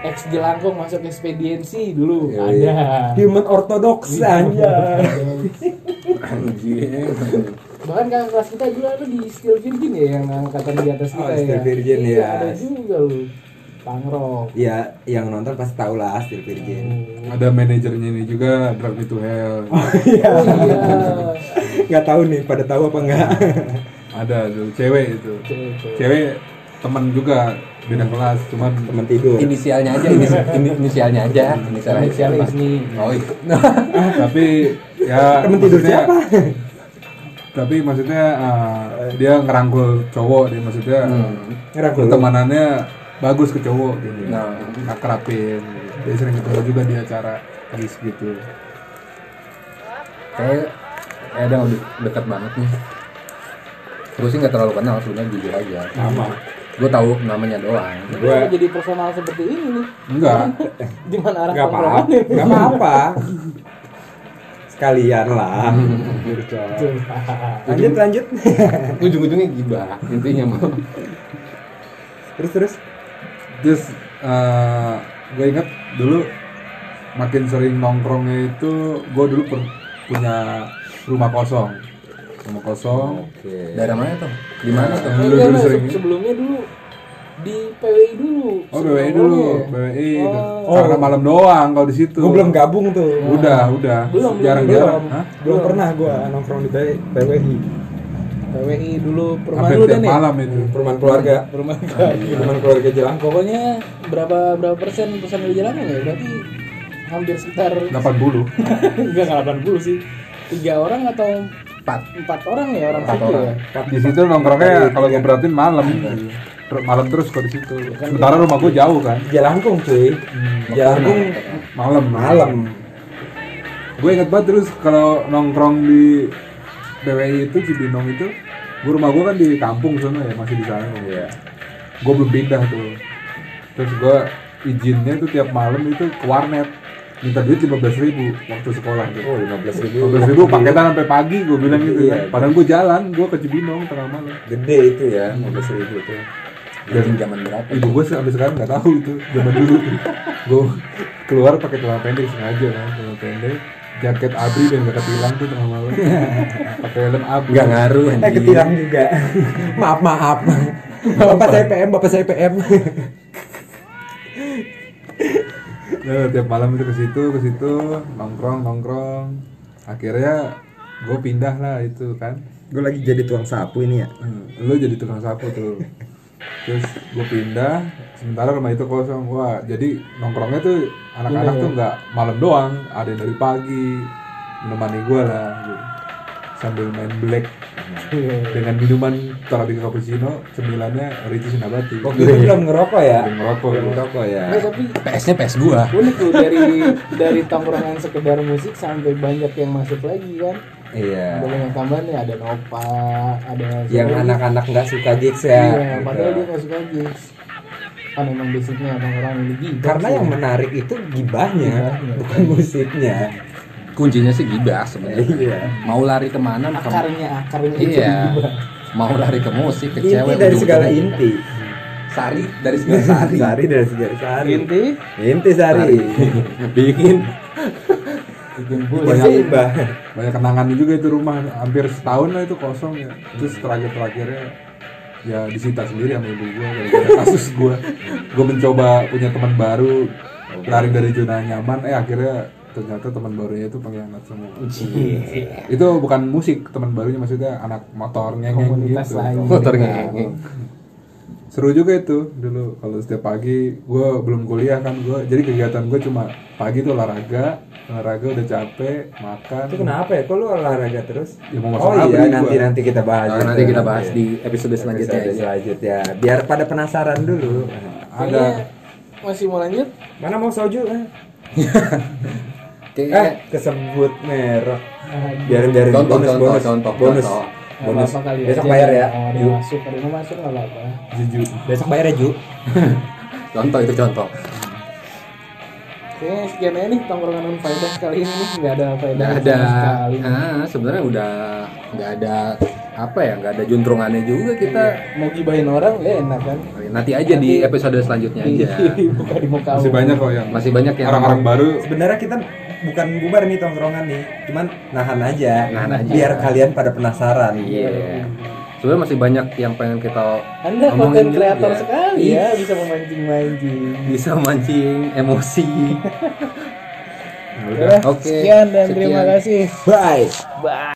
[SPEAKER 3] ex Jelangkung masuk ekspediensi dulu
[SPEAKER 4] Yoi.
[SPEAKER 3] ada
[SPEAKER 4] Human ortodoks aja.
[SPEAKER 1] anjing
[SPEAKER 3] bahkan kakak kelas kita juga ada di Steel Virgin ya yang angkatan di atas
[SPEAKER 4] Oh,
[SPEAKER 3] kita ya
[SPEAKER 4] Steel Virgin,
[SPEAKER 3] Iya,
[SPEAKER 4] ya.
[SPEAKER 3] ada juga lu pangrok
[SPEAKER 4] Ya, yang nonton pasti tahu lah Steel Virgin.
[SPEAKER 2] ada manajernya ini juga drag me to hell
[SPEAKER 3] oh iya
[SPEAKER 4] Nggak tahu nih, pada tahu apa enggak?
[SPEAKER 2] ada dulu cewek itu
[SPEAKER 3] Cewek, cewek.
[SPEAKER 2] cewek teman juga beda kelas cuman
[SPEAKER 4] Temen tidur.
[SPEAKER 1] inisialnya aja inis- ini- inisialnya aja inisialnya aja.
[SPEAKER 3] Inisialnya Isni.
[SPEAKER 1] oh iya
[SPEAKER 2] Ah, tapi ya
[SPEAKER 4] Temen tidur
[SPEAKER 2] maksudnya-
[SPEAKER 4] siapa?
[SPEAKER 2] tapi maksudnya eh, dia ngerangkul cowok dia maksudnya
[SPEAKER 4] Hmm. Ngerangkul.
[SPEAKER 2] pertemanannya bagus ke cowok gitu
[SPEAKER 1] Nah.
[SPEAKER 2] akrabin gitu. dia sering ketemu juga di acara habis gitu
[SPEAKER 1] kayak kayak ada yang de- dekat banget nih gue sih nggak terlalu kenal sebenarnya jujur aja
[SPEAKER 4] Sama.
[SPEAKER 1] gue tahu namanya doang
[SPEAKER 3] Gua jadi personal seperti ini nih.
[SPEAKER 2] enggak
[SPEAKER 3] Gimana arah
[SPEAKER 4] Gak apa-apa,
[SPEAKER 3] tongkrongan ini?
[SPEAKER 4] gak apa-apa. Sekalian lah. Iya, Lanjut, lanjut.
[SPEAKER 1] ujung-ujungnya gibah intinya mah
[SPEAKER 4] terus, terus.
[SPEAKER 2] terus eh, gue ingat dulu makin sering nongkrongnya itu gue dulu per- punya rumah kosong rumah kosong
[SPEAKER 4] Oke.
[SPEAKER 1] daerah mana tuh di mana tuh
[SPEAKER 2] Dulu-
[SPEAKER 3] Enggak,
[SPEAKER 2] dulu
[SPEAKER 3] enggak,
[SPEAKER 2] sering-
[SPEAKER 3] Iya, se- sebelumnya dulu di PWI dulu.
[SPEAKER 2] oh
[SPEAKER 3] sebelum
[SPEAKER 2] BWI dulu
[SPEAKER 3] awalnya.
[SPEAKER 2] BWI itu.
[SPEAKER 3] iya. Oh.
[SPEAKER 2] karena malam doang kalau di situ
[SPEAKER 4] Gue belum gabung tuh.
[SPEAKER 2] udah udah
[SPEAKER 3] Belum, belum,
[SPEAKER 2] jarang-jarang
[SPEAKER 3] belum.
[SPEAKER 2] Hah?
[SPEAKER 4] Belum pernah gue nongkrong di P- PWI.
[SPEAKER 3] PWI dulu perumahan
[SPEAKER 2] hampir
[SPEAKER 3] lu
[SPEAKER 2] tiap
[SPEAKER 3] dan ya.
[SPEAKER 2] malam itu
[SPEAKER 4] Perumahan keluarga.
[SPEAKER 3] Perumahan kali.
[SPEAKER 4] Perumahan keluarga Jelang.
[SPEAKER 3] Pokoknya berapa berapa persen perusahaan dari jalanan ya? Berarti hampir sekitar
[SPEAKER 2] 80
[SPEAKER 3] enggak enggak 80 sih. Tiga orang atau
[SPEAKER 1] empat
[SPEAKER 3] empat orang ya orang
[SPEAKER 1] Empat
[SPEAKER 3] situ
[SPEAKER 1] orang.
[SPEAKER 3] ya?
[SPEAKER 2] di situ
[SPEAKER 3] Iya.
[SPEAKER 2] nongkrongnya kalau gue perhatiin malam Ter- malam terus kok di situ
[SPEAKER 3] Iya.
[SPEAKER 2] sementara rumah gue jauh kan
[SPEAKER 4] Jelangkung cuy. Jelangkung
[SPEAKER 2] malam
[SPEAKER 4] malam.
[SPEAKER 2] gue inget banget terus kalau nongkrong di BWI itu Cibinong itu gue rumah gue kan di kampung sana ya masih di sana
[SPEAKER 4] Iya.
[SPEAKER 2] ya gue belum pindah tuh terus gue izinnya tuh tiap malam itu ke warnet minta duit 15.000 ribu waktu sekolah tuh
[SPEAKER 4] Oh, 15 ribu.
[SPEAKER 2] 15 ribu paketan sampai pagi gue bilang gitu
[SPEAKER 4] Iya.
[SPEAKER 2] kan padahal gue jalan gue ke Cibinong tengah malam
[SPEAKER 4] Gede itu ya, 15 ribu itu.
[SPEAKER 1] dari zaman berapa
[SPEAKER 2] ibu gue sampai sekarang nggak tahu itu zaman dulu gue keluar pakai celana pendek sengaja kan celana pendek jaket abri dan gak ketilang tuh tengah malam pakai helm abri
[SPEAKER 1] nggak ngaruh
[SPEAKER 4] Eh, ketilang juga. maaf, maaf. Bapak saya PM, bapak saya PM.
[SPEAKER 2] Nah, tiap malam itu ke situ ke situ nongkrong nongkrong akhirnya gue pindah lah itu kan
[SPEAKER 4] gue lagi jadi tuang sapu ini ya.
[SPEAKER 2] Hmm, lu jadi tukang sapu tuh terus gue pindah sementara rumah itu kosong wah jadi nongkrongnya tuh anak-anak tuh nggak malam doang ada yang dari pagi menemani gue lah gitu. sambil main black dengan minuman Torabika cappuccino cemilannya Ricci Sinabati
[SPEAKER 4] Waktu itu belum ngerokok ya?
[SPEAKER 2] Belum ngerokok,
[SPEAKER 4] Belum
[SPEAKER 2] gua.
[SPEAKER 4] ngerokok ya.
[SPEAKER 3] Nggak, tapi
[SPEAKER 5] PS-nya PS gua.
[SPEAKER 3] unik tuh dari dari tongkrongan sekedar musik sampai banyak yang masuk lagi kan
[SPEAKER 4] Iya.
[SPEAKER 3] ada banyak tambahan ya ada Nova ada
[SPEAKER 4] Yang
[SPEAKER 3] siapa lagi?
[SPEAKER 4] anak-anak nggak suka gigs ya.
[SPEAKER 3] iya,
[SPEAKER 4] gitu.
[SPEAKER 3] padahal dia nggak suka gigs kan emang basicnya orang-orang yang gigi
[SPEAKER 4] Iya. Karena yang menarik itu ya. gibahnya,
[SPEAKER 3] Gibahnya.
[SPEAKER 4] bukan musiknya.
[SPEAKER 1] Kuncinya sih gibah sebenarnya.
[SPEAKER 4] Iya.
[SPEAKER 1] Mau lari kemana? ke-
[SPEAKER 3] akarnya akarnya itu
[SPEAKER 1] Iya.
[SPEAKER 3] gibah.
[SPEAKER 1] Mau lari ke musik, ke
[SPEAKER 4] Inti
[SPEAKER 1] cewek. gitu.
[SPEAKER 4] dari
[SPEAKER 1] ujung-ujung.
[SPEAKER 4] segala inti.
[SPEAKER 1] Sari dari segala sari.
[SPEAKER 4] Sari dari segala sari.
[SPEAKER 1] Inti.
[SPEAKER 4] Inti sari.
[SPEAKER 2] bikin
[SPEAKER 3] bikin
[SPEAKER 4] Banyak
[SPEAKER 3] bulan
[SPEAKER 4] gibah.
[SPEAKER 2] banyak kenangan juga itu rumah hampir setahun lah itu kosong ya terus terakhir terakhirnya ya disita sendiri sama ibu gue gara kasus gue gue mencoba punya teman baru lari dari zona nyaman eh akhirnya ternyata teman barunya itu pengkhianat semua
[SPEAKER 3] Iya.
[SPEAKER 2] itu bukan musik teman barunya maksudnya anak motor ngengeng
[SPEAKER 3] Komunitas
[SPEAKER 2] gitu
[SPEAKER 3] lain.
[SPEAKER 1] Motor ngengeng.
[SPEAKER 2] seru juga itu dulu kalau setiap pagi gue belum kuliah kan gue jadi kegiatan gue cuma pagi tuh olahraga olahraga udah capek makan
[SPEAKER 4] Itu kenapa ya? Kok lu olahraga terus?
[SPEAKER 2] Ya, mau masuk
[SPEAKER 4] oh iya,
[SPEAKER 2] abri gua.
[SPEAKER 4] nanti nanti kita bahas.
[SPEAKER 1] Nah, nanti kita bahas di episode selanjutnya
[SPEAKER 4] Episode
[SPEAKER 1] aja. Iya.
[SPEAKER 4] selanjutnya. Biar pada penasaran dulu.
[SPEAKER 2] ada
[SPEAKER 3] Iya. masih mau lanjut
[SPEAKER 4] Mana mau soju? Eh,
[SPEAKER 1] Oke,
[SPEAKER 4] eh kesebut merek.
[SPEAKER 3] Aduh,
[SPEAKER 4] Biarin biarin
[SPEAKER 1] Contoh,
[SPEAKER 4] bonus
[SPEAKER 1] contoh,
[SPEAKER 4] bonus
[SPEAKER 1] contoh,
[SPEAKER 4] bonus.
[SPEAKER 1] contoh.
[SPEAKER 3] nggak
[SPEAKER 4] bonus.
[SPEAKER 3] apa-apa kali
[SPEAKER 4] Besok
[SPEAKER 3] aja.
[SPEAKER 4] bayar ya.
[SPEAKER 3] Oh, ada
[SPEAKER 4] Ju.
[SPEAKER 3] yang masuk ada yang masuk nggak apa-apa
[SPEAKER 2] jujur
[SPEAKER 4] Besok bayar ya, Ju.
[SPEAKER 1] contoh itu contoh.
[SPEAKER 3] Kayaknya sekian aja nih tongkrongan non faedah kali ini nih nggak ada faedah
[SPEAKER 1] Nggak
[SPEAKER 3] sama
[SPEAKER 1] ada.
[SPEAKER 3] sekali.
[SPEAKER 1] Ah, sebenarnya udah nggak ada apa ya? Nggak ada juntrungannya juga kita.
[SPEAKER 3] mau gibahin orang ya enak kan
[SPEAKER 1] Nanti aja di episode selanjutnya
[SPEAKER 4] Iya.
[SPEAKER 1] aja.
[SPEAKER 3] buka di muka
[SPEAKER 2] masih
[SPEAKER 3] umum.
[SPEAKER 2] banyak kok yang
[SPEAKER 1] Masih banyak yang
[SPEAKER 2] orang-orang baru
[SPEAKER 4] Sebenarnya kita bukan bubar nih tongkrongan nih, cuman nahan aja.
[SPEAKER 1] Nahan aja.
[SPEAKER 4] Biar kalian pada penasaran.
[SPEAKER 1] Iya. Sebenarnya masih banyak yang pengen kita
[SPEAKER 3] anda
[SPEAKER 1] omongin
[SPEAKER 3] konten
[SPEAKER 1] juga.
[SPEAKER 3] kreator sekali
[SPEAKER 1] Iya.
[SPEAKER 3] ya Nah, bisa memancing-mancing
[SPEAKER 1] Bisa mancing emosi.
[SPEAKER 2] Ya udah.
[SPEAKER 3] Udah,
[SPEAKER 1] Oke,
[SPEAKER 3] sekian dan terima
[SPEAKER 1] sekian.
[SPEAKER 3] kasih
[SPEAKER 4] Bye.